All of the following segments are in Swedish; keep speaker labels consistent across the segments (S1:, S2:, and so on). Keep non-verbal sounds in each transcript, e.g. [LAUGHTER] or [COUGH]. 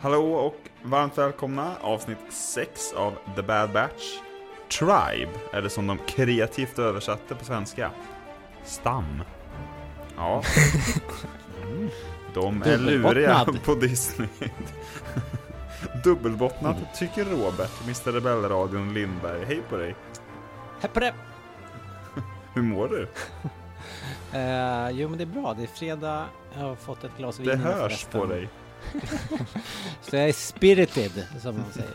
S1: Hallå och varmt välkomna avsnitt 6 av The Bad Batch. Tribe, eller som de kreativt översatte på svenska, stam. [LAUGHS] Ja. Mm. De är luriga
S2: Dubbelbottnad.
S1: på Disney. [LAUGHS] Dubbelbottnat tycker Robert, Mr Rebellradion Lindberg. Hej på dig!
S2: Hej på det!
S1: Hur mår du?
S2: Eh, jo men det är bra, det är fredag, jag har fått ett glas vin
S1: Det
S2: innan
S1: hörs
S2: förresten.
S1: på dig.
S2: Så jag är spirited, som man säger.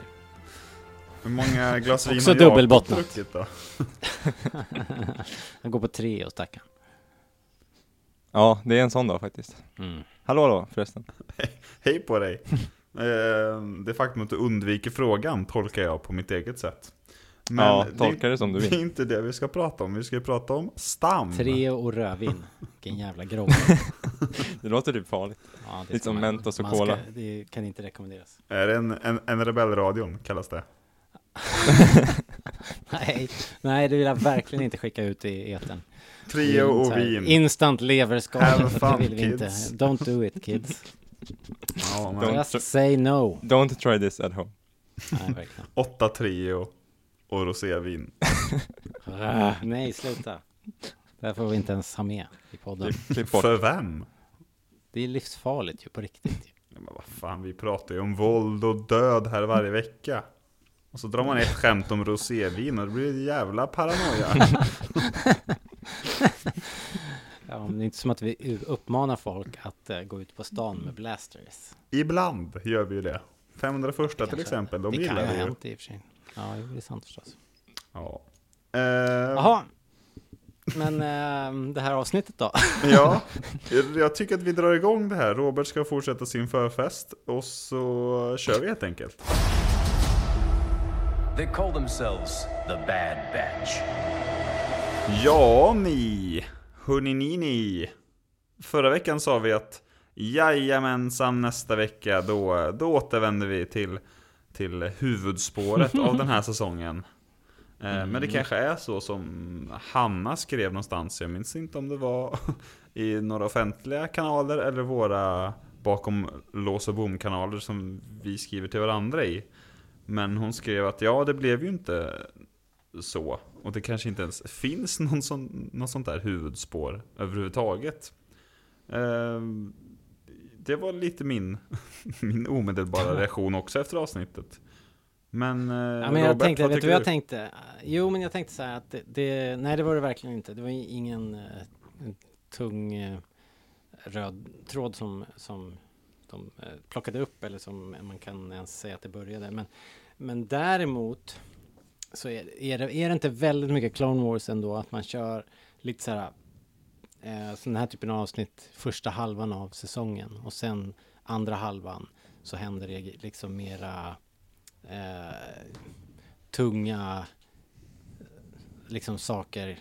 S2: [LAUGHS]
S1: Hur många glas vin
S2: Också
S1: har Jakob
S2: dubbelbottnat.
S1: druckit då?
S2: Han går på tre och stackar.
S3: Ja, det är en sån dag faktiskt.
S2: Mm.
S3: Hallå då förresten.
S1: Hej på
S2: [LAUGHS]
S1: dig! Eh, Det faktum att du undviker frågan tolkar jag på mitt eget sätt. Men
S3: ja,
S1: det-
S3: tolka det som du
S1: Det är [LAUGHS]
S3: vill.
S1: inte det vi ska prata om, vi ska ju prata om stam.
S2: Tre och rödvin. Vilken jävla grogg. [LAUGHS]
S3: Det låter typ farligt.
S2: Ja,
S3: Lite
S2: ska
S3: som
S2: man-
S3: Mentos och
S2: man ska-
S3: cola.
S2: Det kan inte rekommenderas.
S1: Är det en, en, en rebellradion kallas det?
S2: Nej, nej, det vill jag verkligen inte skicka ut i etern.
S1: Trio
S2: Så
S1: och
S2: här,
S1: vin.
S2: Instant leverskador.
S1: Have
S2: Det
S1: fun,
S2: vill vi inte.
S1: kids.
S2: Don't do
S1: [LAUGHS]
S2: it kids.
S1: Ja, men
S3: Don't tr-
S2: Just say no.
S3: Don't try this at home.
S2: Nej, verkligen.
S1: Åtta trio och rosévin.
S2: Ah, Nej, sluta. Det här får vi inte ens ha med i podden.
S3: Klipp-
S2: [LAUGHS]
S3: Klipp bort.
S1: För vem?
S2: Det är livsfarligt ju på riktigt. ju.
S1: Ja, men vad fan, vi pratar ju om våld och död här varje vecka. Och så drar man ett skämt om rosévin och det blir en jävla
S2: [LAUGHS]
S1: paranoia.
S2: Ja, men det är inte som att vi uppmanar folk att eh, gå ut på stan med blasters.
S1: Ibland gör vi ju det. 501 till
S2: Kanske.
S1: exempel, de
S2: det
S1: gillar
S2: kan
S1: det
S2: ju ha
S1: ju.
S2: hänt i och för sig. Ja, jo, det är sant förstås.
S1: Ja. Eh,
S2: Jaha. Men eh, det här avsnittet då?
S1: Ja, jag tycker att vi drar igång det här. Robert ska fortsätta sin förfest och så kör vi helt enkelt.
S4: They call themselves the Bad Batch.
S1: Ja ni, hörni ni ni. Förra veckan sa vi att jajamensan nästa vecka då, då återvänder vi till, till huvudspåret av den här säsongen. Eh,
S2: Mm.
S1: Men det kanske är så som Hanna skrev någonstans, jag minns inte om det var [LAUGHS] i några offentliga kanaler eller våra bakom lås och bom-kanaler som vi skriver till varandra i. Men hon skrev att ja, det blev ju inte så. Och det kanske inte ens finns [LAUGHS] någon sån, något sånt där huvudspår överhuvudtaget. Ehm, det var lite min, [LAUGHS] min
S2: [LAUGHS]
S1: omedelbara reaktion också efter avsnittet. Men, eh,
S2: Ja, men jag
S1: Robert,
S2: tänkte,
S1: vad
S2: vet du
S1: tycker
S2: vad jag tänkte? Jo, men jag tänkte så här att det, det nej det var det verkligen inte. Det var ju ingen eh, tung eh, röd tråd som, som de eh, plockade upp eller som man kan ens säga att det började. Men, men däremot så är, är, det, är det inte väldigt mycket Clone Wars ändå att man kör lite så här eh, sån här typen av avsnitt första halvan av säsongen och sen andra halvan så händer det liksom mera eh, tunga eh, liksom saker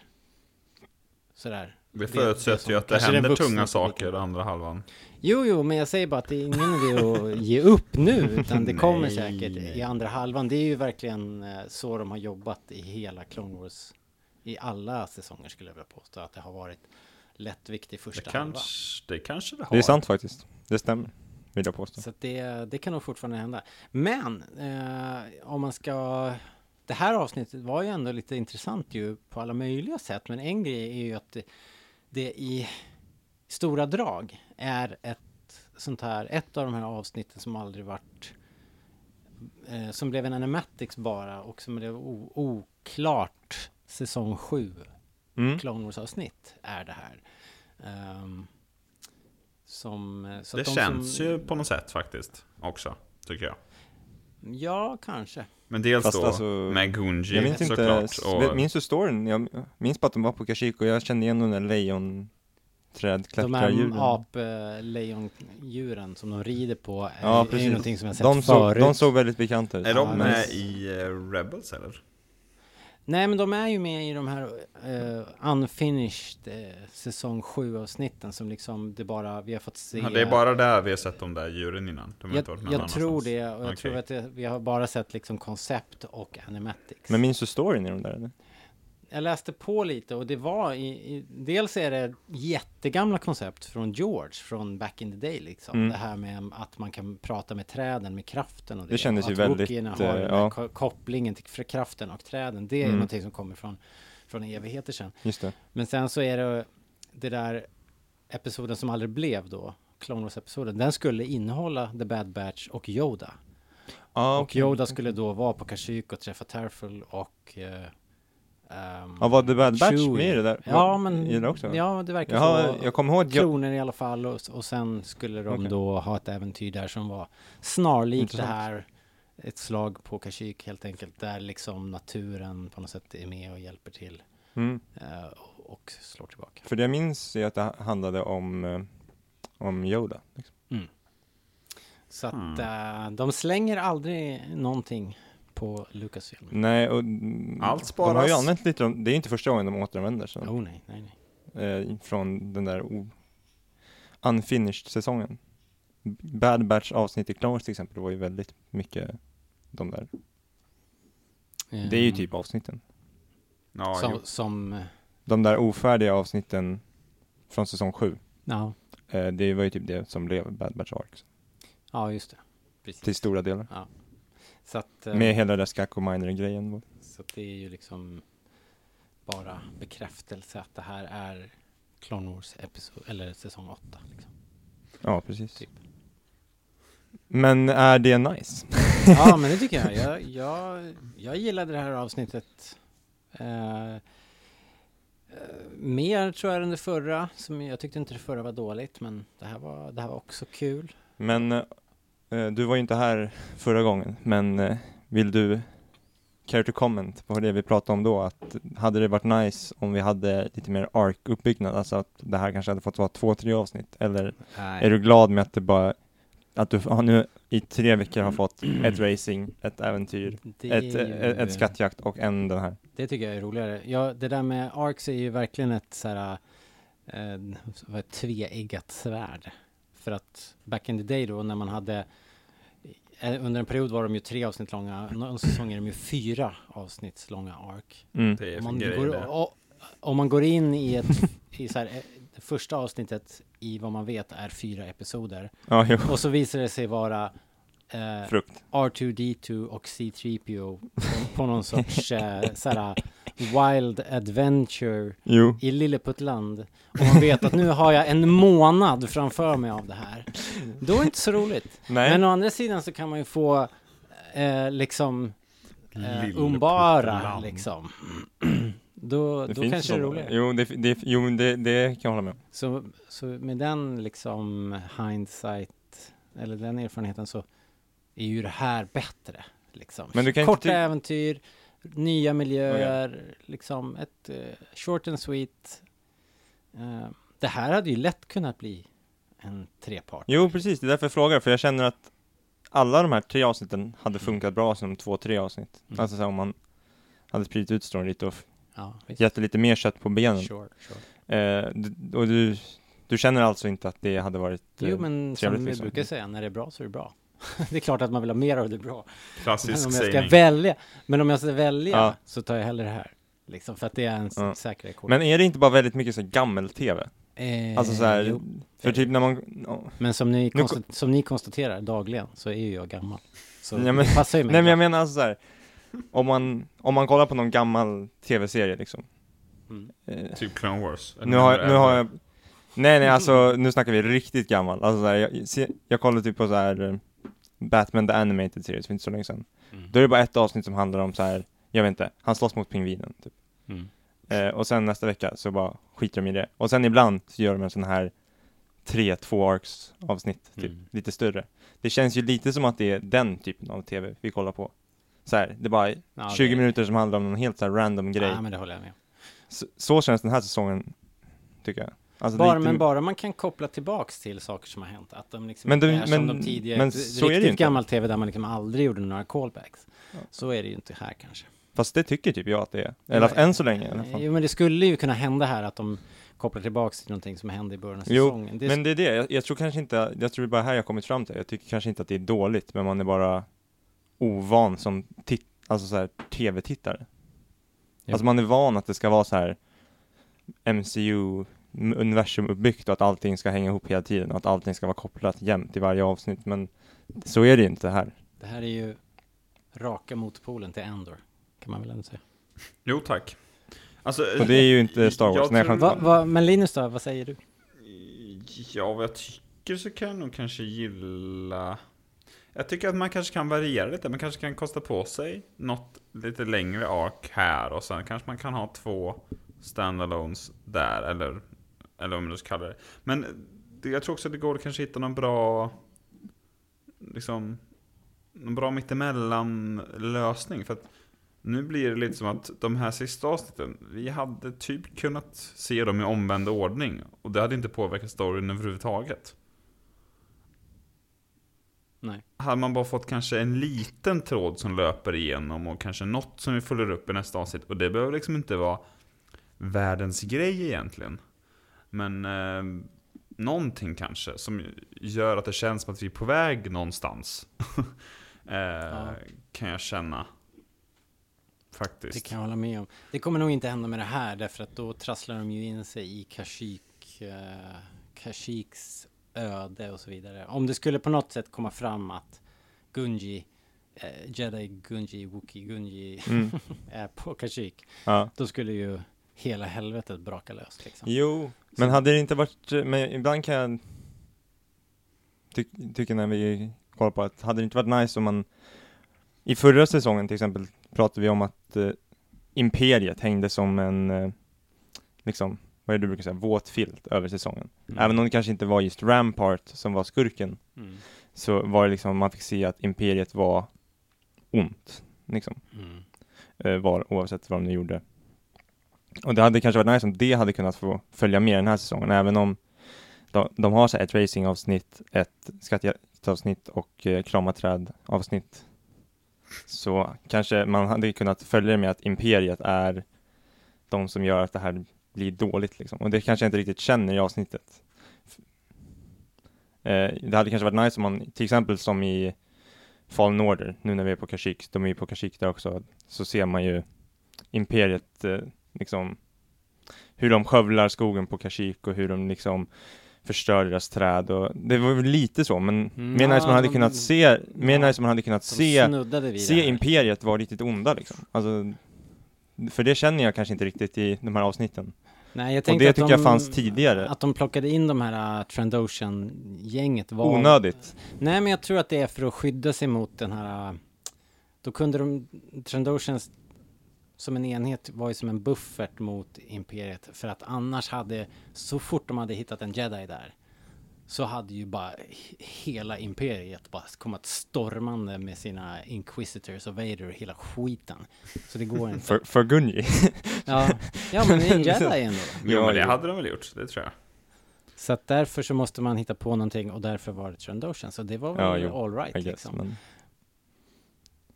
S2: sådär.
S1: Det
S2: det
S1: förutsätter
S2: som
S1: ju att det
S2: kanske den
S1: händer
S2: vuxna
S1: tunga
S2: publiken-
S1: saker andra halvan.
S2: Jo, jo, men jag säger bara att det är ingen idé att ge upp nu, utan det kommer
S1: Nej.
S2: säkert i andra halvan. Det är ju verkligen eh, så de har jobbat i hela Clone Wars, i alla säsonger skulle jag vilja påstå, att det har varit lättviktig
S1: Det
S2: första halva.
S1: kanske, det kanske det har.
S3: Det är sant faktiskt. Det stämmer. Vill jag påstå.
S2: Så att det, det kan nog fortfarande hända. Men eh, om man ska... Det här avsnittet var ju ändå lite intressant ju på alla möjliga sätt. Men en grej är ju att det, det i stora drag är ett sånt här, ett av de här avsnitten som aldrig varit eh, som blev en animatics bara och som blev o- oklart säsong 7
S3: Mm.
S2: Clone Wars avsnitt är det här. Ehm, som, eh, så
S1: det
S2: att de
S1: känns
S2: som,
S1: ju på något sätt faktiskt också, tycker jag.
S2: Ja, kanske.
S1: Men dels
S3: Fast
S1: då
S3: alltså,
S1: med Gunji
S3: Jag minns inte,
S1: såklart. Och,
S3: s- minns du storyn? Jag minns bara att de var på Kashyyyk och jag kände igen de där
S2: De här
S3: lejonträdklättrardjuren.
S2: apelejondjuren som de rider på är,
S3: Ja,
S2: är ju
S3: precis.
S2: någonting som jag sett
S3: de, såg,
S2: förut.
S3: de såg väldigt bekanta ut.
S1: är
S2: Ja,
S1: de med
S2: nice.
S1: i eh, Rebels eller?
S2: Nej, men de är ju med i de här eh, unfinished eh, säsong 7 avsnitten som liksom det bara vi har fått se.
S1: Ja, det är bara där vi har sett de där djuren innan. De har inte varit
S2: jag
S1: med någon
S2: jag tror
S1: annanstans.
S2: det och jag
S1: Okej.
S2: tror att det, vi har bara sett liksom koncept och animatics.
S3: Men minns du storyn i de där eller?
S2: jag läste på lite och det var i, i, dels är det jättegamla koncept från George från back in the day liksom.
S3: Mm.
S2: Det här med att man kan prata med träden, med kraften och det.
S3: Det kändes
S2: Och
S3: ju
S2: att
S3: väldigt,
S2: Wookieerna har den
S3: eh,
S2: där
S3: ja.
S2: ko- kopplingen till fr- kraften och träden. Det är
S3: Mm.
S2: någonting som kommer från, från evigheter sedan.
S3: Just det.
S2: Men sen så är det det där episoden som aldrig blev då, Clone Wars-episoden, den skulle innehålla The Bad Batch och Yoda.
S3: Ah,
S2: Och Yoda skulle då vara på Kashyyyk och träffa Tarful och... eh, ehm,
S3: Ja, var The Bad Batch
S2: Chewie.
S3: med i det där?
S2: Ja,
S3: Var-
S2: men...
S3: I det också?
S2: Ja, det verkar
S3: Jaha,
S2: så.
S3: jag kommer ihåg att jag,
S2: Kloner i alla fall och, och sen skulle de
S3: Okej.
S2: då ha ett äventyr där som var snarlikt det
S3: Intressant.
S2: här. Ett slag på Kashyyyk helt enkelt, där liksom naturen på något sätt är med och hjälper till
S3: mm,
S2: eh, och- och slår tillbaka.
S3: för det jag minns är att det handlade om, eh, om Yoda. Liksom.
S2: Så att
S1: Hmm.
S2: eh, de slänger aldrig någonting på Lucasfilm.
S3: Nej, och mm,
S1: Allt
S3: de har ju
S1: sparas.
S3: använt lite, om- det är inte första gången de återanvänder så,
S2: Jo, nej, nej, nej.
S3: eh, från den där o- unfinished-säsongen. Bad Batch avsnitt i Clone Wars till exempel, det var ju väldigt mycket de där. Det är ju
S2: Ehm,
S3: typ avsnitten.
S1: Ja,
S2: som,
S1: jo.
S2: som, eh,
S3: De där ofärdiga avsnitten från säsong 7,
S2: ja,
S3: eh, det var ju typ det som blev Bad Batch Arcs,
S2: ja, just det. Precis.
S3: till stora delar.
S2: Så att, eh,
S3: Med hela den där Skak och Miner-grejen. var-
S2: så att det är ju liksom bara bekräftelse att det här är Clone Wars episod, eller säsong 8. Liksom.
S3: Ja, precis.
S2: Typ.
S3: Men är det nice?
S2: [LAUGHS] Ja, men det tycker jag. Jag, jag. jag gillade det här avsnittet eh, eh, mer tror jag än det förra. Som jag tyckte inte det förra var dåligt, men det här var, det här var också kul.
S3: Men eh, eh, du var ju inte här förra gången, men eh, vill du care to comment på det vi pratade om då? Att hade det varit nice om vi hade lite mer ark-uppbyggnad, alltså att det här kanske hade fått vara två, tre avsnitt? Eller
S2: Nej.
S3: är du glad med att det bara, att du har nu i tre veckor har fått ett racing, ett äventyr,
S2: det
S3: ett,
S2: är ju-
S3: ett, ett skattjakt och en den här?
S2: Det tycker jag är roligare. Ja, det där med arcs är ju verkligen ett så här eh, vad ett tveeggat svärd. För att back in the day då när man hade eh, under en period var de ju tre avsnitt långa, någon säsong är de ju fyra avsnitt långa ark.
S3: Mm.
S1: Det är
S2: Om
S1: en
S2: man,
S1: grej
S2: går,
S1: det.
S2: o- om man går in i, ett, i så här, eh, det första avsnittet i vad man vet är fyra episoder
S3: Ja, jo.
S2: och så visar det sig vara eh,
S3: Frukt.
S2: R2D2 och C3PO på- på någon sorts eh, såhär wild adventure
S3: Jo.
S2: i Lilleputtland och man vet att nu har jag en månad framför mig av det här. Då är det inte så roligt.
S3: Nej.
S2: Men å andra sidan så kan man ju få eh, liksom eh,
S1: Lilleputtland.
S2: umbara liksom. [CLEARS THROAT] Då,
S3: Det
S2: då
S3: finns
S2: kanske det är
S3: sådana.
S2: roligare.
S3: Jo, det, det, jo det, det kan jag hålla med om.
S2: Så, så med den liksom hindsight, eller den erfarenheten så är ju det här bättre. Liksom.
S3: Men du kan inte
S2: Korta
S3: ty-
S2: äventyr, nya miljöer, liksom ett eh, short and sweet. Eh, det här hade ju lätt kunnat bli en trepart.
S3: Jo, precis. Det är därför jag frågar, för jag känner att alla de här tre avsnitten hade funkat bra som två, tre avsnitt.
S2: Mm.
S3: Alltså så här, om man hade spridit ut storyn lite och f-
S2: Ja, visst.
S3: gett det lite mer kött på benen.
S2: Sure, sure.
S3: Eh, d- och du, du känner alltså inte att det hade varit... eh,
S2: Jo, men som
S3: trevligt
S2: vi
S3: liksom.
S2: brukar säga, när det är bra så är det bra. [LAUGHS] det är klart att man vill ha mer av det bra. [LAUGHS] Men
S1: Klassisk
S2: om jag ska
S1: sägning.
S2: välja, men om jag ska välja
S3: Ja.
S2: så tar jag hellre det här. Liksom, för att det är en
S3: Ja.
S2: s- säkrare kort.
S3: Men är det inte bara väldigt mycket så här gammel-tv?
S2: Eh,
S3: Alltså så här,
S2: jo.
S3: för typ när man... ja.
S2: Men som ni,
S3: Nu
S2: konstat- som ni konstaterar dagligen så är ju jag gammal. Så
S3: Nej, men-
S2: det passar ju mig.
S3: Nej men jag menar alltså så här, om man, om man kollar på någon gammal tv-serie liksom.
S2: Mm.
S3: Eh,
S1: Typ Clone Wars.
S3: Nu har, jag- nu har jag... Nej nej alltså, nu snackar vi riktigt gammal. Alltså så här, jag, se, jag kollar typ på så här eh, Batman the Animated Series för inte så länge sedan.
S5: Mm.
S3: Då är det bara ett avsnitt som handlar om så här, jag vet inte, han slåss mot pingvinen typ.
S5: Mm.
S3: Eh, och sen nästa vecka så bara skiter de i det. Och sen ibland så gör de en sån här tre, två arcs avsnitt, typ,
S5: Mm.
S3: lite större. Det känns ju lite som att det är den typen av tv vi kollar på. Så här, det är bara
S2: Ja,
S3: 20
S2: det-
S3: minuter som handlar om någon helt så här random grej. Alltså,
S2: Ja, men det håller jag med om.
S3: så, så känns den här säsongen, tycker jag. Alltså,
S2: Bara,
S3: lite-
S2: men bara man kan koppla tillbaks till saker som har hänt. Att de liksom
S3: Men
S2: inte
S3: de-
S2: är som
S3: men-
S2: de tidigare.
S3: men
S2: ett
S3: så är det ju
S2: riktigt
S3: inte.
S2: gammal tv där man liksom aldrig gjorde några callbacks.
S3: Ja.
S2: Så är det ju inte här kanske.
S3: Fast det tycker typ jag att det är. Eller
S2: Nej.
S3: än så länge i alla fall.
S2: Jo, men det skulle ju kunna hända här att de kopplar tillbaks till någonting som hände i början av
S3: Jo,
S2: säsongen. Det är
S3: Men det är det, jag, jag tror kanske inte, jag tror det är bara här jag kommit fram till. Jag tycker kanske inte att det är dåligt, men man är bara ovan som titt, alltså så här, tv-tittare.
S2: Ja.
S3: Alltså man är van att det ska vara så här MCU, m- universum uppbyggt och att allting ska hänga ihop hela tiden och att allting ska vara kopplat jämt i varje avsnitt. Men så är det ju inte här.
S2: Det här är ju raka motpolen till Endor, kan man väl ändå säga.
S1: Jo tack. Alltså,
S3: Och det är ju inte Star Wars.
S1: Jag
S3: Nej, jag
S1: tror-
S3: skämtar.
S2: Va, va, men Linus då, vad säger du?
S1: Ja, vad jag tycker så kan jag nog kanske gilla... Jag tycker att man kanske kan variera lite. Man kanske kan kosta på sig något lite längre ark här och sen kanske man kan ha två standalones där eller, eller om du ska kalla det. Men det- jag tror också att det går att kanske hitta någon bra, liksom, någon bra mittemellan lösning för att nu blir det lite som att de här sista avsnitten, vi hade typ kunnat se dem i omvänd ordning. Och det hade inte påverkat storyn överhuvudtaget.
S2: Nej.
S1: Hade man bara fått kanske en liten tråd som löper igenom och kanske något som vi följer upp i nästa avsnitt. Och det behöver liksom inte vara världens grej egentligen. Men eh, någonting kanske som gör att det känns som att vi är på väg någonstans. [LAUGHS] eh, Kan jag känna. Faktiskt.
S2: Det kan jag hålla med om. Det kommer nog inte hända med det här, därför att då trasslar de ju in sig i Kashik, eh, Kashiks öde och så vidare. Om det skulle på något sätt komma fram att Gunji, eh, Jedi Gunji, Wookie Gunji [LAUGHS]
S3: Mm.
S2: är på Kashik,
S3: Ja.
S2: då skulle ju hela helvetet braka löst liksom.
S3: Jo, men hade det inte varit, men ibland kan jag ty tycka när vi kollar på att, hade det inte varit nice om man, i förra säsongen till exempel pratade vi om att eh, imperiet hängde som en, eh, liksom, vad är det du brukar säga, våt filt över säsongen. Även om det kanske inte var just Rampart som var skurken,
S5: Mm.
S3: så var det liksom, man fick se att imperiet var ont, liksom
S5: Mm.
S3: eh, var, oavsett vad de nu gjorde. Och det hade kanske varit nice om det hade kunnat få följa med den här säsongen, även om de, de har så här ett racingavsnitt, ett skatteavsnitt och eh, krama träd-avsnitt. Så kanske man hade kunnat följa det med att Imperiet är de som gör att det här blir dåligt liksom. Och det kanske jag inte riktigt känner i avsnittet. F- Eh, det hade kanske varit nice om man, till exempel som i Fallen Order, nu när vi är på Kashyyyk, de är ju på Kashyyyk där också, så ser man ju imperiet eh, liksom hur de skövlar skogen på Kashyyyk och hur de liksom förstör deras träd och det var väl lite så men
S2: Mm,
S3: mer nice
S2: ja,
S3: man hade
S2: de-
S3: kunnat se, mer
S2: ja.
S3: nice man hade kunnat
S2: De
S3: se,
S2: snuddade vid det
S3: se
S2: här.
S3: imperiet vara riktigt onda liksom. Alltså, för det känner jag kanske inte riktigt i de här avsnitten.
S2: Nej, jag
S3: Och
S2: tänkte
S3: det
S2: att
S3: tycker
S2: de,
S3: jag fanns tidigare.
S2: Att de plockade in de här uh, Trandoshan-gänget var...
S3: Onödigt.
S2: Nej, men jag tror att det är för att skydda sig mot den här... äh, Då kunde de... Trandoshans som en enhet var ju som en buffert mot Imperiet. För att annars hade... Så fort de hade hittat en Jedi där så hade ju bara he- hela Imperiet bara kommit stormande med sina Inquisitors och Vader och hela skiten. Så det går inte.
S3: För, för Gunji.
S2: Ja, ja men det
S3: [LAUGHS]
S2: är en Jedi ändå.
S1: Jo,
S3: Ja,
S1: men det
S3: jo.
S1: hade de väl gjort, det tror jag.
S2: Så att därför så måste man hitta på någonting och därför var det Trandoshan. Så det var
S3: Ja,
S2: väl
S3: jo,
S2: all right
S3: I guess,
S2: liksom.
S3: men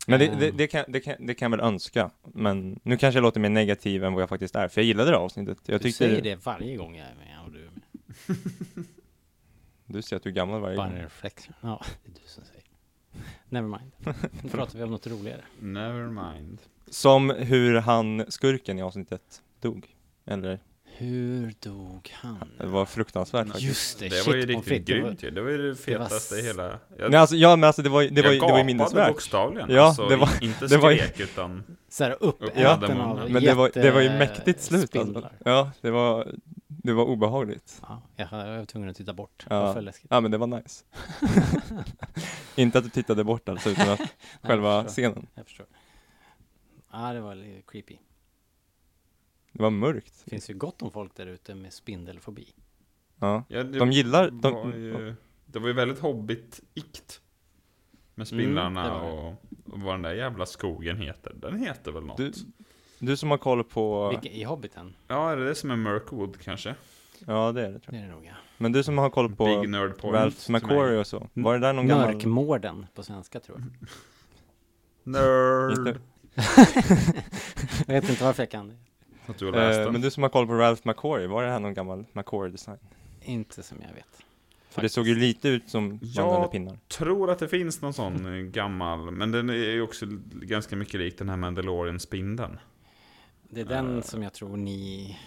S3: men det, det,
S2: Ehm.
S3: det, kan, det, kan, det kan jag väl önska. Men nu kanske jag låter mer negativ än vad jag faktiskt är, för jag gillade det här avsnittet. Jag
S2: du
S3: tyckte
S2: säger det varje gång jag är med och du är med.
S3: Du ser att du är gammal varje
S2: Bara
S3: gång.
S2: en reflex. Ja, det är du som säger. Never mind.
S3: [LAUGHS]
S2: Nu pratar vi om något roligare.
S1: Never mind.
S3: Som hur han, skurken i avsnittet, dog. Eller,
S2: Hur dog han?
S3: det var fruktansvärt faktiskt.
S2: Just det,
S1: Det
S2: shit
S1: var ju
S2: pommes
S1: riktigt
S2: frites, det var-
S1: grymt ju. Det var ju det
S2: det var
S1: fetaste i
S2: s-
S1: hela... Jag,
S3: Nej alltså, ja men alltså det var ju, det var ju, det var ju
S1: gapade
S3: minnesvärt.
S1: bokstavligen.
S3: Ja,
S1: alltså,
S3: det
S1: det
S3: var-
S1: inte
S3: det var ju-
S1: skrek utan...
S2: Så här
S1: Ja,
S2: uppäten
S1: det var-
S2: av
S3: Men det var, det var ju
S2: jätte-
S3: mäktigt slut alltså.
S2: spindlar.
S3: Ja, det var Det var obehagligt.
S2: Ja, jag var tvungen att titta bort.
S3: Ja.
S2: Det var för läskigt.
S3: Ja, men det
S2: [LAUGHS]
S3: var nice. Inte att du tittade bort alltså, utan
S2: [LAUGHS]
S3: att
S2: Nej,
S3: själva
S2: jag förstår.
S3: scenen.
S2: Jag förstår. Ja, det var lite creepy.
S3: Det var mörkt.
S2: Det finns ju gott om folk där ute med spindelfobi.
S3: Ja.
S1: Ja, det
S3: De gillar...
S1: var
S3: De,
S1: ju, det var ju väldigt hobbit-ikt. Med spindlarna
S2: Mm, det var det.
S1: och, och vad den där jävla skogen heter. Den heter väl något?
S3: du, du som har koll på...
S2: Vilka, I Hobbiten?
S1: Ja, är det det som är Mirkwood kanske?
S3: Ja, det är det tror
S2: Det
S3: jag.
S2: är det nog ja.
S3: Men du som har koll på
S1: Big Nerd Point.
S3: Ralph
S1: som är-
S3: McQuarrie och så. Var det där någon gammal... Mm.
S2: Mörkmården på svenska tror jag.
S3: Just
S1: Nerd.
S3: det.
S2: [LAUGHS] Jag vet inte varför jag kan det.
S1: Att du har läst
S3: Eh,
S1: den.
S3: men du som har koll på Ralph McQuarrie, var det här någon gammal McQuarrie-design?
S2: Inte som jag vet.
S3: För det såg ju lite ut som
S1: Ja.
S3: vandrande pinnar.
S1: Tror att det finns någon sån eh, gammal, men den är ju också ganska mycket lik den här Mandalorian-spindeln.
S2: Det är den som jag tror ni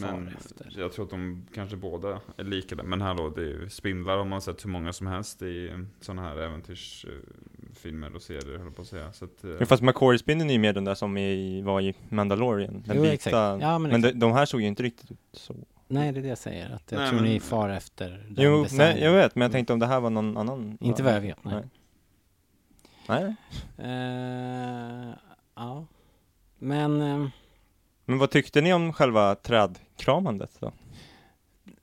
S2: far
S1: Men
S2: efter.
S1: jag tror att de kanske båda är lika. Men hallå, det är ju spindlar har man sett hur många som helst i sådana här äventyrsfilmer och serier, höll jag på att säga. Så att, eh,
S3: Ja, fast McQuarrie-spindeln är ju mer den där som i, var i Mandalorian. Den
S2: Jo,
S3: vita.
S2: exakt. Ja, men
S3: men de, de här såg ju inte riktigt ut så.
S2: Nej, det är det jag säger. Att jag
S1: Nej,
S2: tror
S1: men-
S2: ni far efter den
S3: Jo,
S2: designen.
S3: nej, jag vet, men jag tänkte om det här var någon annan.
S2: Inte vad jag vet, nej.
S3: Nej. Nej.
S2: Eh, ja. Men eh,
S3: Men vad tyckte ni om själva trädkramandet då?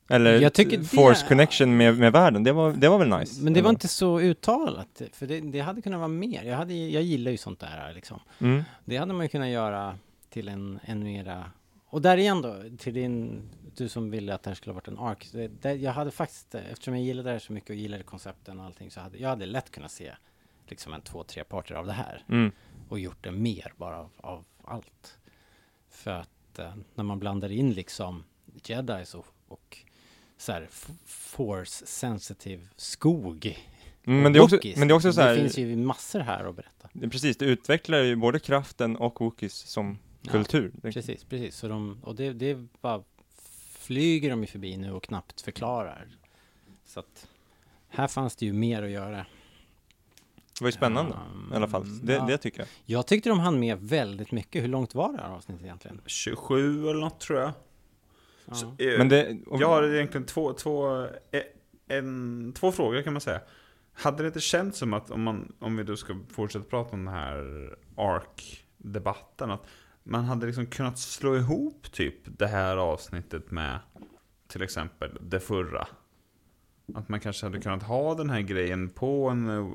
S3: Eller
S2: Jag tycker
S3: t-
S2: det-
S3: force connection med, med världen, det var, det var väl nice?
S2: Men det var
S3: eller?
S2: inte så uttalat, för det, det hade kunnat vara mer. Jag, hade, jag gillar ju sånt där liksom.
S3: Mm.
S2: Det hade man ju kunnat göra till en, en mera... Och där igen då, till din... Du som ville att det här skulle ha varit en ark. Det, där, jag hade faktiskt, eh, eftersom jag gillade det här så mycket och gillade koncepten och allting, så hade jag hade lätt kunnat se liksom en två, tre parter av det här.
S3: Mm.
S2: Och gjort det mer bara av, av allt. För att eh, när man blandar in liksom jedis och, och så här f- force-sensitive skog
S3: Mm, Men det är också,
S2: Wookies.
S3: men det är också så här,
S2: Det finns ju massor här att berätta.
S3: det- precis, det utvecklar ju både kraften och Wookies som
S2: Ja,
S3: kultur. Det-
S2: Precis, precis. Så de, och det, det bara flyger de ju förbi nu och knappt förklarar. Så att här fanns det ju mer att göra.
S3: Det var ju spännande
S2: Ehm,
S3: i alla fall. Det,
S2: ja.
S3: det tycker jag.
S2: Jag tyckte de hann med väldigt mycket. Hur långt var det här avsnittet egentligen?
S1: 27 eller något tror jag.
S2: Ja.
S1: Så, eh,
S3: Men det, och,
S1: Jag har egentligen två, två, eh, en, två frågor kan man säga. Hade det inte känts som att, om, man, om vi då ska fortsätta prata om den här ARK-debatten, att man hade liksom kunnat slå ihop typ det här avsnittet med till exempel det förra? Att man kanske hade kunnat ha den här grejen på en, eh,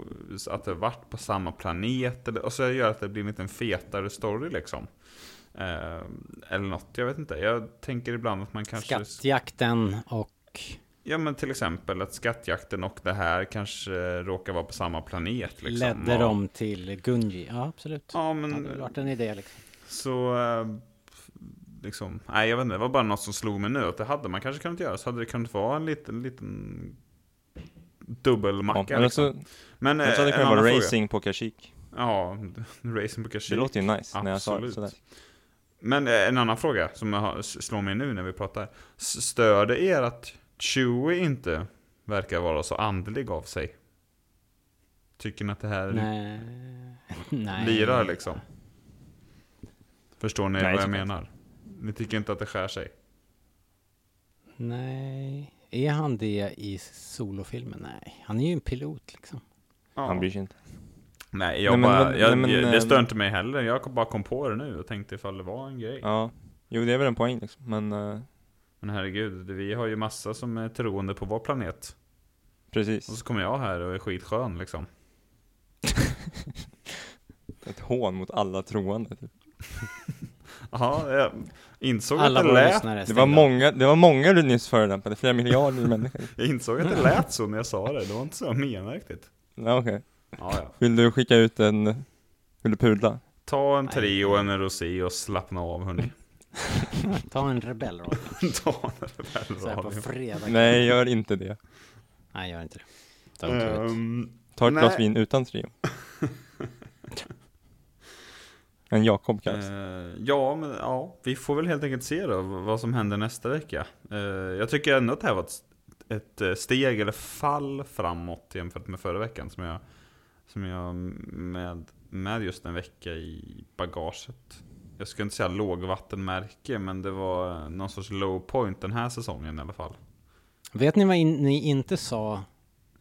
S1: att det varit på samma planet, eller, och så gör att det blir en liten fetare story liksom. Eh, eller något, jag vet inte. Jag tänker ibland att man kanske...
S2: Skattjakten och...
S1: Ja men till exempel att skattjakten och det här kanske eh, råkar vara på samma planet liksom.
S2: Ledde
S1: Och-
S2: dem till Gunji, ja absolut.
S1: Ja
S2: Det
S1: men
S2: hade väl varit en idé liksom.
S1: så eh, liksom, nej jag vet inte, det var bara något som slog mig nu att det hade man kanske kunnat göra så hade det kunnat vara en liten, liten
S3: ja,
S1: dubbelmacka
S3: eller
S1: liksom.
S3: så,
S1: Men
S3: jag
S1: eh,
S3: tror det
S1: en
S3: kan
S1: annan
S3: vara
S1: fråga.
S3: racing på Kashik.
S1: Ja, [LAUGHS] racing på Kashyyk.
S3: Det låter ju nice när jag sa det
S1: Absolut.
S3: sådär.
S1: Men eh, en annan fråga som jag har- s- slår mig nu när vi pratar. S- Stör det er att Chewie inte verkar vara så andlig av sig? Tycker ni att det här
S2: Nej. [LAUGHS] Nej.
S1: lirar Mm. liksom? Förstår ni
S3: Nej,
S1: vad jag
S3: såklart.
S1: menar? Ni tycker inte att det skär sig?
S2: Nej. Är han det i solofilmen? Nej. Han är ju en pilot liksom.
S1: Ja.
S3: Han bryr sig inte.
S1: Nej, jag
S3: Nej, men-
S1: bara,
S3: men-
S1: jag,
S3: nej, men,
S1: det
S3: eh,
S1: stör inte mig heller. Jag kom- bara kom på det nu och tänkte ifall det var en grej.
S3: Ja, jo det är väl en poäng liksom. Men eh,
S1: Men herregud, vi har ju massa som är troende på vår planet. Och
S3: precis,
S1: så kommer jag här och är skitskön liksom.
S3: ett hån mot alla troende. Typ.
S1: Jaha, jag insåg
S2: Alla
S1: att det
S2: våra
S1: lät
S2: lyssnare
S3: Det var
S2: stängde av.
S3: många, det var många du nyss förolämpade,
S1: [LAUGHS]
S3: flera miljarder människor.
S1: Jag insåg att det lät så när jag sa det, det var inte så jag menade riktigt.
S3: Ja, okej.
S1: Ja, ja.
S3: Vill du skicka ut en, vill du pudla?
S1: Ta en Treo och en Rosé och slappna av hörni. [LAUGHS]
S2: Ta en rebellradio
S1: [LAUGHS] Ta en
S2: så här på
S1: rebellradio.
S2: fredag.
S3: Nej, gör inte det.
S2: Nej, gör inte det. Ta inte ut.
S1: Ehm,
S3: Ta ett
S1: Nej.
S3: glas vin utan trio. En Jakob kanske.
S1: eh, ja, men ja, vi får väl helt enkelt se då vad som händer nästa vecka. Eh, jag tycker ändå att det här var ett, ett eh, steg eller fall framåt jämfört med förra veckan som jag, som jag med, med just en vecka i bagaget jag ska inte säga lågvattenmärke, men det var någon sorts low point den här säsongen i alla fall.
S2: Vet ni vad in, ni inte sa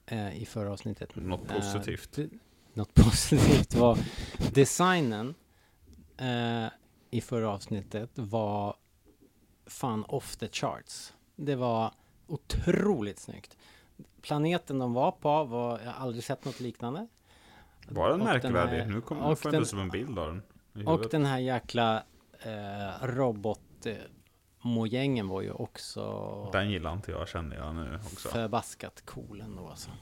S2: eh, i förra avsnittet?
S1: Något
S2: Eh,
S1: positivt.
S2: det- något [LAUGHS] positivt var designen eh, i förra avsnittet var fan off the charts. Det var otroligt snyggt. Planeten de var på var, jag har aldrig sett något liknande.
S1: Var den
S2: och den
S1: märkvärdig?
S2: här-
S1: nu kom,
S2: och
S1: får jag
S2: den-
S1: inte som en bild av den. i
S2: Och
S1: huvudet.
S2: den här jäkla eh, robot eh, mojängen var ju också
S1: den gillar inte jag känner jag nu också.
S2: förbaskat cool ändå alltså.
S3: Mm,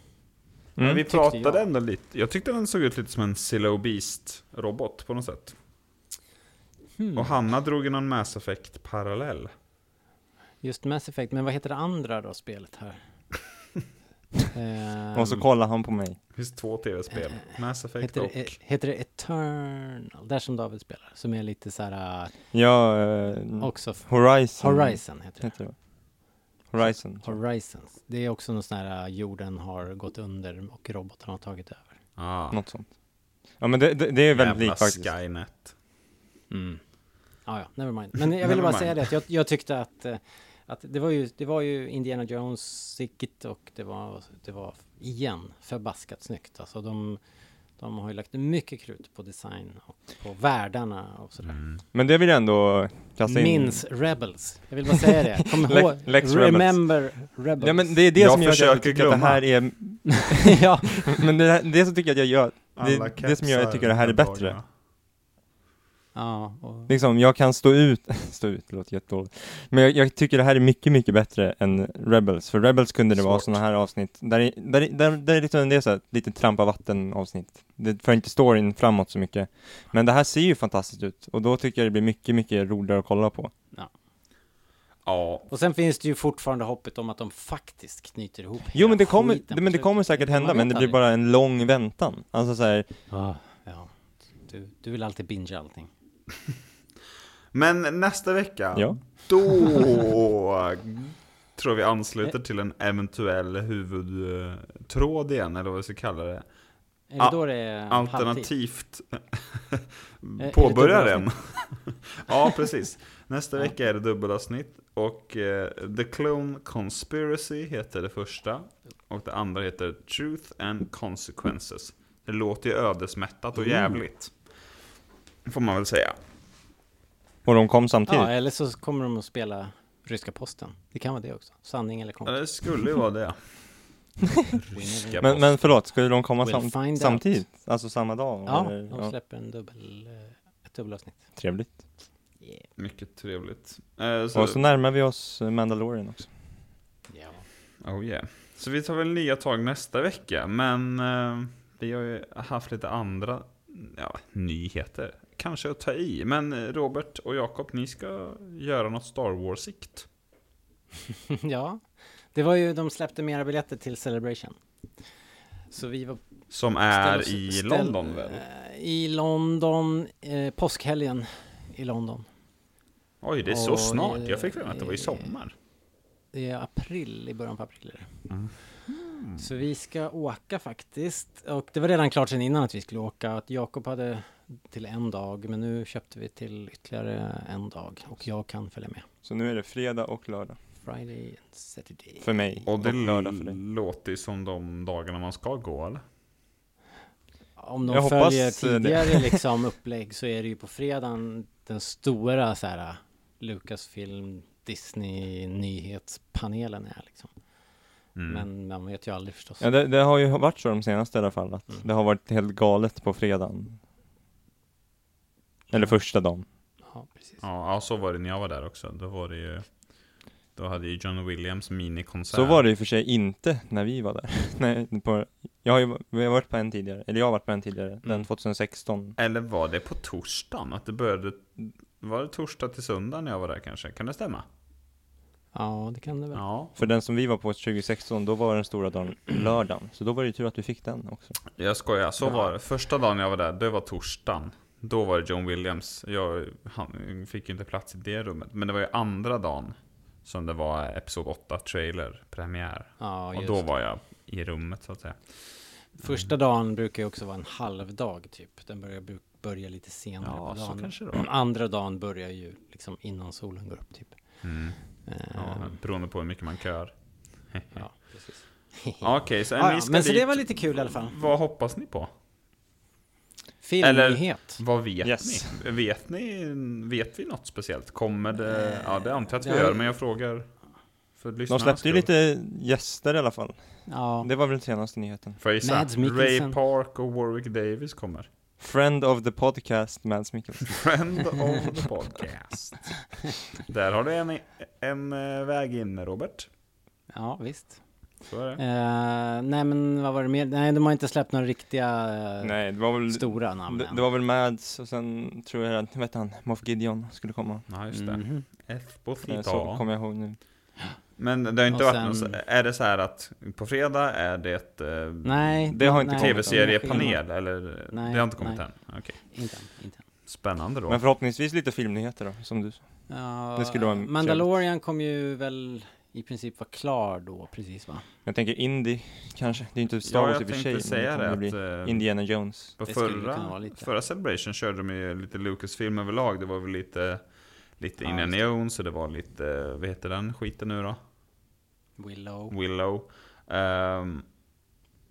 S1: Men vi
S2: tyckte
S1: pratade
S2: jag.
S1: ändå lite, jag tyckte den såg ut lite som en Silo Beast-robot på något sätt.
S3: Mm.
S2: Hmm.
S1: Och Hanna drog ju någon Mass Effect-parallell.
S2: Just Mass Effect, men vad heter det andra då spelet här?
S1: [LAUGHS]
S2: Ehm,
S3: Och så kollar han på mig.
S1: Det finns två tv-spel,
S3: Eh,
S1: Mass Effect
S2: heter,
S1: och...
S2: det, E-, heter det Eternal? Där som David spelar, som är lite så här äh,
S3: Ja,
S1: Mm.
S3: eh,
S2: också f-
S3: Horizon.
S2: Horizon heter det.
S3: Heter det. Horizon. tror
S2: Horizons. Det är också någon sån här äh, jorden har gått under och robotarna har tagit över.
S3: jag.
S1: Ah,
S3: Något sånt. Ja men det, det, det är väldigt
S1: jävla
S3: likt faktiskt.
S1: Skynet.
S2: Mm. Ah, ja, never mind. Men
S3: [LAUGHS]
S2: jag ville
S1: Never
S2: bara
S1: mind.
S2: säga det att jag, jag tyckte att, eh, att det, var ju, det var ju Indiana Jones-sicket och det var, det var igen förbaskat snyggt. Alltså de, de har ju lagt mycket krut på design och på världarna och sådär.
S1: Mm.
S3: Men det vill jag ändå kasta in.
S2: Minns Rebels. Jag vill bara säga det.
S3: [LAUGHS]
S2: Kom
S3: Lex-
S2: ihåg.
S3: Lex Rebels.
S2: remember Rebels.
S3: Ja men det är det
S1: Jag
S3: som gör att jag
S1: försöker
S3: tycker att det här är...
S2: [LAUGHS] ja,
S3: Men det, här, det som tycker jag att jag gör...
S1: Alla
S3: Det, det som gör att jag
S1: kepsar
S3: tycker det här är
S1: den
S3: bättre.
S1: dagarna.
S2: ja, och,
S3: Liksom, jag kan stå ut, [LAUGHS] stå ut, det låter jättedåligt. Men jag, jag tycker det här är mycket, mycket bättre än Rebels. För Rebels kunde det vara
S1: Svårt.
S3: sådana här avsnitt, där, i- där, i- där, där är liksom, det är så här, lite trampa vatten avsnitt. Det för inte storyn framåt så mycket. Men det här ser ju fantastiskt ut, och då tycker jag det blir mycket, mycket roligare att kolla på.
S1: Ja,
S2: och sen finns det ju fortfarande hoppet om att de faktiskt knyter ihop
S3: Jo
S2: hela
S3: men det kommer,
S2: skiten på
S3: det, men det
S2: slutet.
S3: kommer säkert
S2: Man
S3: hända,
S2: vet
S3: men det blir
S2: aldrig.
S3: bara en lång väntan. Alltså så här,
S2: Ah, ja. Du, du vill alltid binge allting.
S1: men nästa vecka,
S3: Ja. [LAUGHS]
S1: då tror vi ansluter till en eventuell huvudtråd igen, eller vad vi ska kalla det.
S2: Är
S1: Ah,
S2: det då det är halvtid? [LAUGHS]
S1: Alternativt
S2: det
S1: påbörja den.
S2: dubbelavsnitt?
S1: [LAUGHS] ja, precis. Nästa
S2: Ja.
S1: vecka är det dubbelavsnitt. Och eh, The Clone Conspiracy heter det första. Och det andra heter Truth and Consequences. Det låter ju ödesmättat och
S2: Mm.
S1: jävligt. Får man väl säga.
S3: och de kom samtidigt.
S2: Ja, eller så kommer de att spela Ryska posten. Det kan vara det också. Sanning eller
S1: Ja,
S2: konst.
S1: det skulle ju vara
S2: [LAUGHS]
S1: det. Ryska
S3: Men, men förlåt, skulle de komma
S2: We'll
S3: sam-
S2: find out.
S3: samtidigt? Alltså samma dag?
S2: Ja,
S3: eller?
S2: de släpper en dubbel, eh, ett dubbelavsnitt.
S3: Trevligt.
S1: Mycket trevligt. Eh,
S3: Och så närmar vi oss eh, Mandalorian också.
S2: Ja.
S1: Oh yeah. Så vi tar väl nya tag nästa vecka, men eh, vi har ju haft lite andra ja, nyheter. Kanske att ta i, men eh, Robert och Jakob, ni ska göra något Star Wars-sikt.
S2: [LAUGHS] ja, det var ju, de släppte mera biljetter till Celebration. Så vi var
S1: Som
S2: ställ
S1: är
S2: oss-
S1: i
S2: ställ-
S1: London väl?
S2: eh, I London, eh, påskhelgen i London.
S1: Oj, det är så
S2: och,
S1: snart.
S2: eh,
S1: Jag fick för mig att det var i sommar.
S2: Det är april, i början på april är det.
S3: Mm.
S2: Så vi ska åka faktiskt. Och det var redan klart sedan innan att vi skulle åka. Att Jakob hade till en dag, men nu köpte vi till ytterligare en dag. Och jag kan följa med.
S3: Så nu är det fredag och lördag
S2: Friday and Saturday.
S3: för mig
S1: Och det
S3: lördag för dig.
S1: låter ju som de dagarna man ska gå, eller?
S2: Om de
S3: Jag hoppas eh,
S2: följer
S3: det.
S2: tidigare
S3: [LAUGHS]
S2: liksom upplägg så är det ju på fredagen den stora så här äh, Lucasfilm Disney nyhetspanelen är liksom.
S1: Mm.
S2: Men man vet ju aldrig förstås.
S3: Ja, det, det har ju varit så de senaste i alla fall, att
S2: Mm.
S3: det har varit helt galet på fredagen. Eller första dagen.
S2: Ja, precis.
S1: Ja, ja, så var det när jag var där också. Då var det ju... Då hade ju John Williams minikonsert.
S3: Så var det ju för sig inte när vi var där. [LAUGHS] Nej, på, jag har ju vi har varit på en tidigare, eller jag har varit på en tidigare,
S2: Mm.
S3: den 2016.
S1: Eller var det på torsdagen? Att det började... Var det torsdag till söndag när jag var där kanske? Kan det stämma?
S2: Ja, det kan det väl.
S1: Ja.
S3: För den som vi var på 2016, då var den stora dagen [CLEARS THROAT] lördagen. Så då var det ju tur att du fick den också.
S1: Jag skojar, så var det. Första dagen jag var där, det var torsdagen. Då var det John Williams. Jag han, fick ju inte plats i det rummet. Men det var ju andra dagen som det var Episod 8 trailer, premiär.
S2: Ja,
S1: Och
S2: just.
S1: då var jag i rummet så att säga.
S2: Första dagen brukar ju också vara en halvdag typ. Den börjar bruk- börjar lite senare
S1: Ja,
S2: på
S1: så
S2: dagen.
S1: kanske det var.
S2: Andra dagen börjar ju liksom innan solen går upp typ.
S1: Mm. Ja,
S2: Ehm,
S1: beroende på hur mycket man kör.
S2: ja, precis.
S1: [LAUGHS]
S2: [LAUGHS]
S1: Okej, så
S2: Ja,
S1: ni
S2: ja,
S1: ska
S2: men så
S1: dit.
S2: det var lite kul i alla fall.
S1: Vad hoppas ni på?
S2: Filmnyhet.
S1: Vad vet
S3: Yes.
S1: ni? Vet ni? Vet vi något speciellt? Kommer
S2: Eh,
S1: det? Ja, det antar jag att vi
S2: det har-
S1: gör, men jag frågar för
S3: De
S1: lyssnarnas
S3: släppte ju
S1: skull.
S3: lite gäster i alla fall.
S2: Ja,
S3: Det var väl den senaste nyheten.
S1: Får jag gissa?
S2: Mads
S1: Ray
S2: Mikkelsen.
S1: Park och Warwick Davis kommer.
S3: Friend of the podcast, Mads Mikkelsen.
S1: Friend of
S2: [LAUGHS]
S1: the podcast. Där har du en, en eh, väg in, Robert.
S2: ja visst.
S1: Så är det.
S2: Eh, nej, men vad var det mer? Nej, de har inte släppt några riktiga eh,
S3: Nej, det var väl...
S2: stora namn
S3: Det,
S2: än.
S3: det var väl Mads och sen tror jag att, vet han, Moff Gideon skulle komma.
S1: Ja, just det.
S2: Mhm.
S1: F på
S3: Eh, Så
S1: Theta.
S3: kommer jag ihåg nu.
S1: Men det har inte
S2: Och
S1: varit någon,
S2: sen-
S1: så- Är det så här att på fredag är det eh,
S2: Nej,
S3: Det har inte
S2: nej,
S1: tv-seriepanel? Eller?
S2: Nej,
S1: det har inte kommit
S2: nej.
S1: än? Okej.
S2: Inte än, inte än.
S1: Spännande då.
S3: Men förhoppningsvis lite filmnyheter då, som du sa.
S2: Ja,
S3: Det skulle vara
S2: Mandalorian kom ju väl i princip vara klar då, precis va?
S3: Jag tänker Indie, kanske. Det är inte Star Wars i och för sig.
S1: Jag
S3: men
S1: tänkte säga
S3: kommer
S1: det,
S3: bli
S1: att eh,
S3: Indiana Jones.
S1: på
S2: Det skulle kunna
S1: förra,
S2: vara lite.
S1: förra Celebration körde de ju lite Lucasfilm överlag. Det var väl lite, lite
S2: Ja,
S1: Indiana
S2: just
S1: Jones och det var lite, vad heter den skiten nu då?
S3: Mm.
S2: Willow.
S1: Willow. Ehm,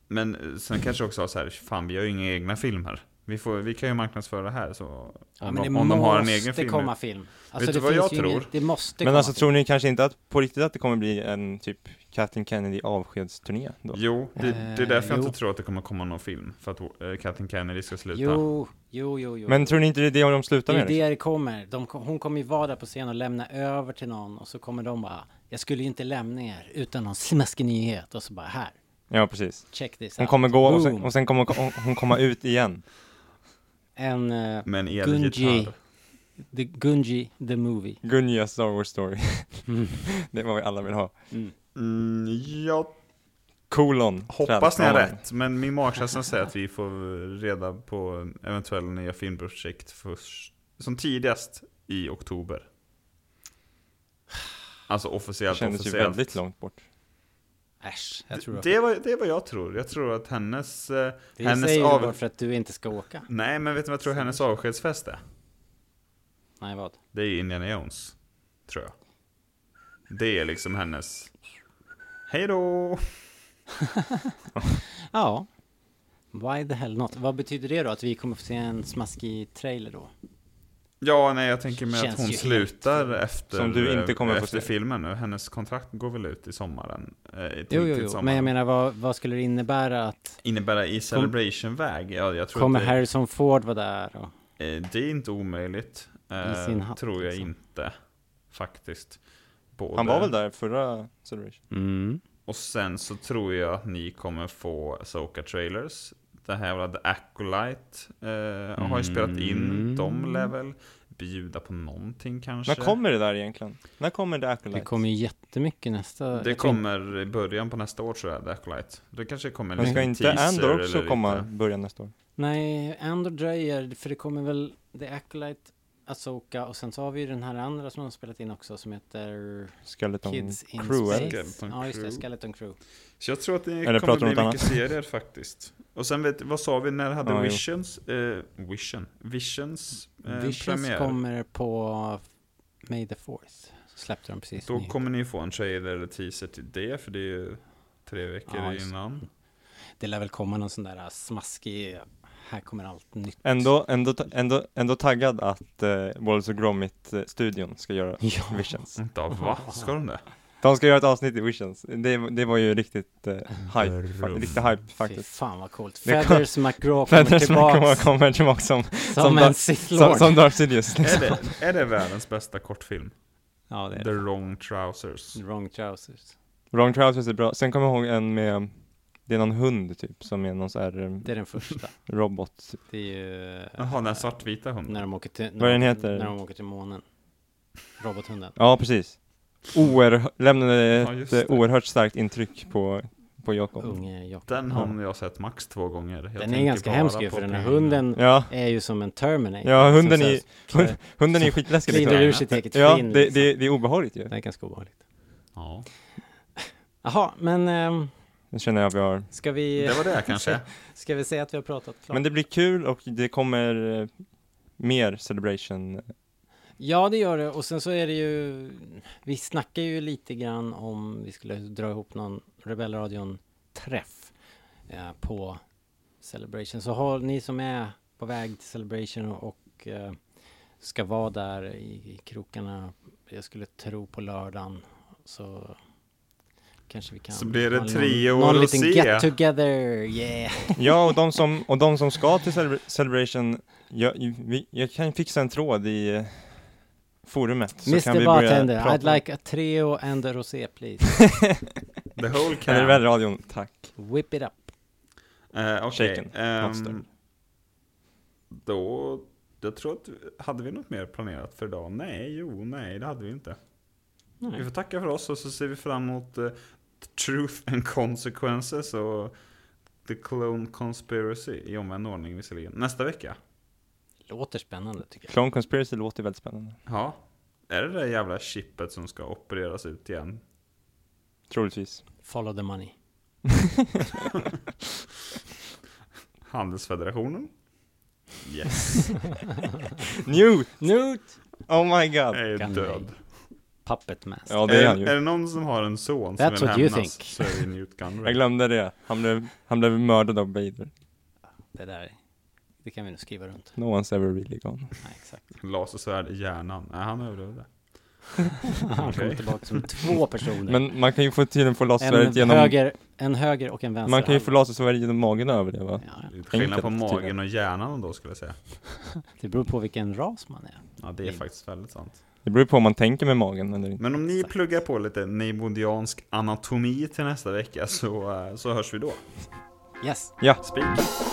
S1: men eh, sen kanske också så här, fan vi har ju inga egna filmer. Vi, får, vi kan ju marknadsföra det här så om,
S2: Ja,
S1: de,
S2: men det
S1: om de har en
S2: måste
S1: egen film.
S2: komma film.
S1: Vet
S2: Alltså,
S1: du
S2: det
S1: vad jag
S2: finns ju
S1: tror?
S2: Ingen, det måste
S3: Men
S2: komma
S3: alltså
S2: film.
S3: tror ni kanske inte att på riktigt att det kommer bli en typ Kathleen Kennedy avskedsturné då?
S1: Jo, det, det är
S2: Eh,
S1: därför jag
S2: jo.
S1: inte tror att det kommer komma någon film. För att eh, Kathleen Kennedy ska sluta.
S2: Jo, jo, jo, jo.
S3: Men tror ni inte det är det de
S2: det
S3: slutar
S2: är
S3: med? Liksom?
S2: det det kommer. De, ko- hon kommer ju vara där på scen och lämna över till någon och så kommer de bara, jag skulle ju inte lämna er utan någon smaskig nyhet och så bara här,
S3: Ja, precis.
S2: check this
S3: Hon
S2: out.
S3: kommer gå och sen,
S2: Boom.
S3: och sen kommer hon- hon komma ut igen.
S2: En, eh,
S1: Men
S2: Gunji.
S1: elgitarr.
S2: the Gunji the movie.
S3: Gunja Star Wars story.
S2: Mm.
S3: [LAUGHS] det var vi alla vill ha.
S1: Mm, jag
S3: Kolon.
S1: Hoppas ni har
S3: trädkronan.
S1: rätt, men min magkänsla säger att vi får reda på eventuella nya filmprojekt först, som tidigast i oktober. Alltså
S3: Det
S1: officiellt,
S3: kändes ju
S1: officiellt.
S3: väldigt långt bort.
S2: Äsch, jag tror
S1: Det, var, det är vad jag tror. Jag tror att hennes... eh,
S2: det
S1: hennes
S2: säger
S1: av-
S2: du bara för att du inte ska åka.
S1: Nej, men vet du vad jag tror hennes avskedsfest är?
S2: Nej, vad?
S1: Det är ju Indiana Jones, tror jag. Det är liksom hennes... Hej då!
S2: Ja. Why the hell not? Vad betyder det då? Att vi kommer få se en smaskig trailer då?
S1: Ja, nej jag tänker mig
S2: Känns
S1: att hon
S2: ju helt-
S1: slutar efter,
S3: Som du inte kommer få
S1: efter
S3: se.
S1: filmen nu. Hennes kontrakt går väl ut i sommaren? eh, Till,
S2: Jo, jo,
S1: till
S2: jo.
S1: sommaren.
S2: Men jag menar, vad, vad skulle det innebära att
S1: Innebär i Celebration-väg? Ja, jag tror
S2: kommer
S1: att det,
S2: Harrison Ford vara där? Och,
S1: eh, det är inte omöjligt. Eh,
S2: sin hatt,
S1: tror jag
S2: liksom.
S1: inte. Faktiskt. Både.
S3: Han var väl där förra Celebration?
S2: mm.
S1: Och sen så tror jag att ni kommer få Soka trailers. Det här var The Acolyte eh, har ju spelat
S2: Mm.
S1: in. De lär väl bjuda på någonting kanske.
S3: När kommer det där egentligen? När kommer The Acolyte?
S2: Det kommer ju jättemycket nästa... jag
S1: Det
S2: tror
S1: kommer i början på nästa år tror jag, The Acolyte. Det kanske kommer en
S3: Men ska
S1: liten
S3: inte
S1: teaser
S3: Andor också
S1: eller
S3: komma
S1: lite-
S3: början nästa år?
S2: Nej, ändå dröjer, för det kommer väl The Acolyte, Asoka och sen så har vi ju den här andra som de har spelat in också som heter
S3: Skeleton
S2: Kids in
S3: Crew eller?
S2: Space.
S1: Skeleton
S2: ja, just det,
S1: Crew.
S2: Skeleton Crew.
S1: Så jag tror att det kommer
S3: pratar du
S1: bli
S3: om
S1: mycket
S3: något
S1: serier faktiskt. Och sen vet, vad sa vi när det hade
S3: Ja, jo.
S1: Visions? Eh, Vision? Visions, eh,
S2: Visions
S1: premiär?
S2: kommer på May the 4th. Släppte de precis.
S1: Då
S2: nyhet.
S1: kommer ni få en trailer eller teaser till det, för det är ju tre veckor
S2: Ja, just det.
S1: innan.
S2: Det lär väl komma någon sån där äh, smaskig, här kommer allt nytt.
S3: Ändå, ändå, ta- ändå, ändå taggad att eh, Wallace och Gromit-studion ska göra
S2: [LAUGHS] Ja.
S3: Visions.
S1: Vänta, va? Ska de det?
S3: De ska göra ett avsnitt i Visions. Det, det var ju riktigt eh, hype, fa-
S1: Rum.
S3: riktigt hype
S2: Fy
S3: faktiskt.
S2: fan vad coolt.
S3: Det kom-
S2: Feathers McGraw kommer
S3: [LAUGHS] Feathers kommer,
S2: tillbaks
S3: kommer tillbaka som,
S2: som,
S3: som Dar-
S2: en Sith
S3: som,
S2: Lord.
S3: som
S2: [LAUGHS]
S3: Darth Sidious. Liksom.
S1: Är, det? är det världens bästa kortfilm?
S2: ja, [LAUGHS] det är
S1: The
S2: det.
S1: wrong trousers.
S2: Wrong trousers.
S3: Wrong Trousers är bra. Sen kommer jag ihåg en med, det är någon hund typ, som är någon sån här eh,
S2: Det är den första.
S3: robot. Typ.
S2: Det är ju...
S3: [LAUGHS]
S1: Jaha, den här svartvita hunden.
S2: När de åker till...
S3: Vad
S2: När,
S3: den
S2: de-
S3: heter?
S2: när de åker till månen. Robothunden.
S3: Ja, precis. Oer lämnade
S1: Ja,
S3: ett
S1: just det.
S3: eh, oerhört starkt intryck på, på Jakob.
S2: Unge Jakob.
S1: Den har jag sett max två gånger. Jag
S2: Den är
S1: tänker
S2: ganska
S1: bara
S2: hemsk ju,
S1: på
S2: för den här
S1: pengarna.
S2: hunden
S3: Ja,
S2: är ju som en Terminator.
S3: Ja, hunden
S2: Som
S3: är-
S2: [LAUGHS] så här-
S3: [LAUGHS] hund- hunden är ju skitläskig liksom.
S2: Kliver ur sitt eget
S3: Ja,
S2: skinn.
S3: det,
S2: liksom.
S3: det, det är obehagligt ju.
S2: det är ganska obehagligt.
S1: Ja.
S2: Jaha, men ehm,
S3: Nu känner jag att vi har...
S2: Ska vi,
S1: Det var det
S3: [LAUGHS]
S1: kanske.
S2: ska vi säga att vi har pratat klart?
S3: Men det blir kul och det kommer eh, mer Celebration.
S2: Ja, det gör det. Och sen så är det ju... Vi snackar ju lite grann om vi skulle dra ihop någon Rebellradion-träff eh, på Celebration. Så har ni som är på väg till Celebration och, och eh, ska vara där i, i krokarna, jag skulle tro på lördagen, så kanske vi kan...
S1: Så blir det
S2: ha
S1: trio
S2: någon, någon
S1: och
S2: liten
S1: rosé.
S2: get together, yeah!
S3: Ja, och de som, och de som ska till Celebra- Celebration, jag, vi, jag kan fixa en tråd i eh, forumet. Så kan
S2: Mr
S3: vi börja
S2: Bartender,
S3: prata.
S2: I'd like a trio and a rosé please.
S1: The whole
S3: Kan du
S1: can.
S3: väl radion? Tack.
S1: [LAUGHS]
S2: Whip it up!
S1: Eh, Okej.
S3: Shaken,
S1: ehm,
S3: monster.
S1: då, jag tror att, hade vi något mer planerat för idag? Nej, jo, nej, det hade vi inte. Vi får tacka för oss och så ser vi fram emot eh, Truth and Consequences och The Clone Conspiracy i omvänd ordning visserligen. Nästa vecka.
S2: Låter spännande tycker jag.
S3: Clone Conspiracy låter väldigt spännande.
S1: Ja. Är det det jävla chippet som ska opereras ut igen?
S3: Troligtvis.
S2: Follow the money.
S1: Handelsfederationen?
S3: [LAUGHS]
S1: Yes.
S3: Newt!
S2: Newt!
S3: Oh my god!
S1: Jag är
S2: Kan
S1: död.
S2: Puppet Master.
S3: Ja, det är han
S1: är,
S3: ju.
S1: det någon som har en son
S2: That's
S1: som
S2: what
S1: vill
S2: you
S1: hämnas
S2: think.
S1: så är det Newt
S3: Jag
S1: Gunray.
S3: glömde det. Han blev, han blev mördad av Vader.
S2: Det där, det kan vi nog skriva runt.
S3: No one's ever really gone.
S2: Nej,
S3: [LAUGHS]
S2: exakt.
S1: Lasersvärd i hjärnan. Nej, han överlevde.
S2: Han kommer
S1: Okej.
S2: tillbaka som
S3: [LAUGHS]
S2: två personer.
S3: Men man kan ju få tydligen få lasersvärdet
S2: en,
S3: genom...
S2: höger, Alltså. en höger och en vänster.
S3: Man kan ju få
S2: halva.
S3: lasersvärdet genom magen och överleva.
S2: Ja, ja.
S1: Lite skillnad på
S3: Enkelt,
S1: magen
S3: tydligen.
S1: och hjärnan då skulle jag säga.
S2: Det beror på vilken ras man är.
S1: Ja, det är
S2: Mm.
S1: faktiskt väldigt sant.
S3: Det beror ju på om man tänker med magen eller inte.
S1: Men om ni pluggar på lite neibodiansk anatomi till nästa vecka så, eh, så hörs vi då.
S2: Yes!
S3: Ja,
S1: Spik!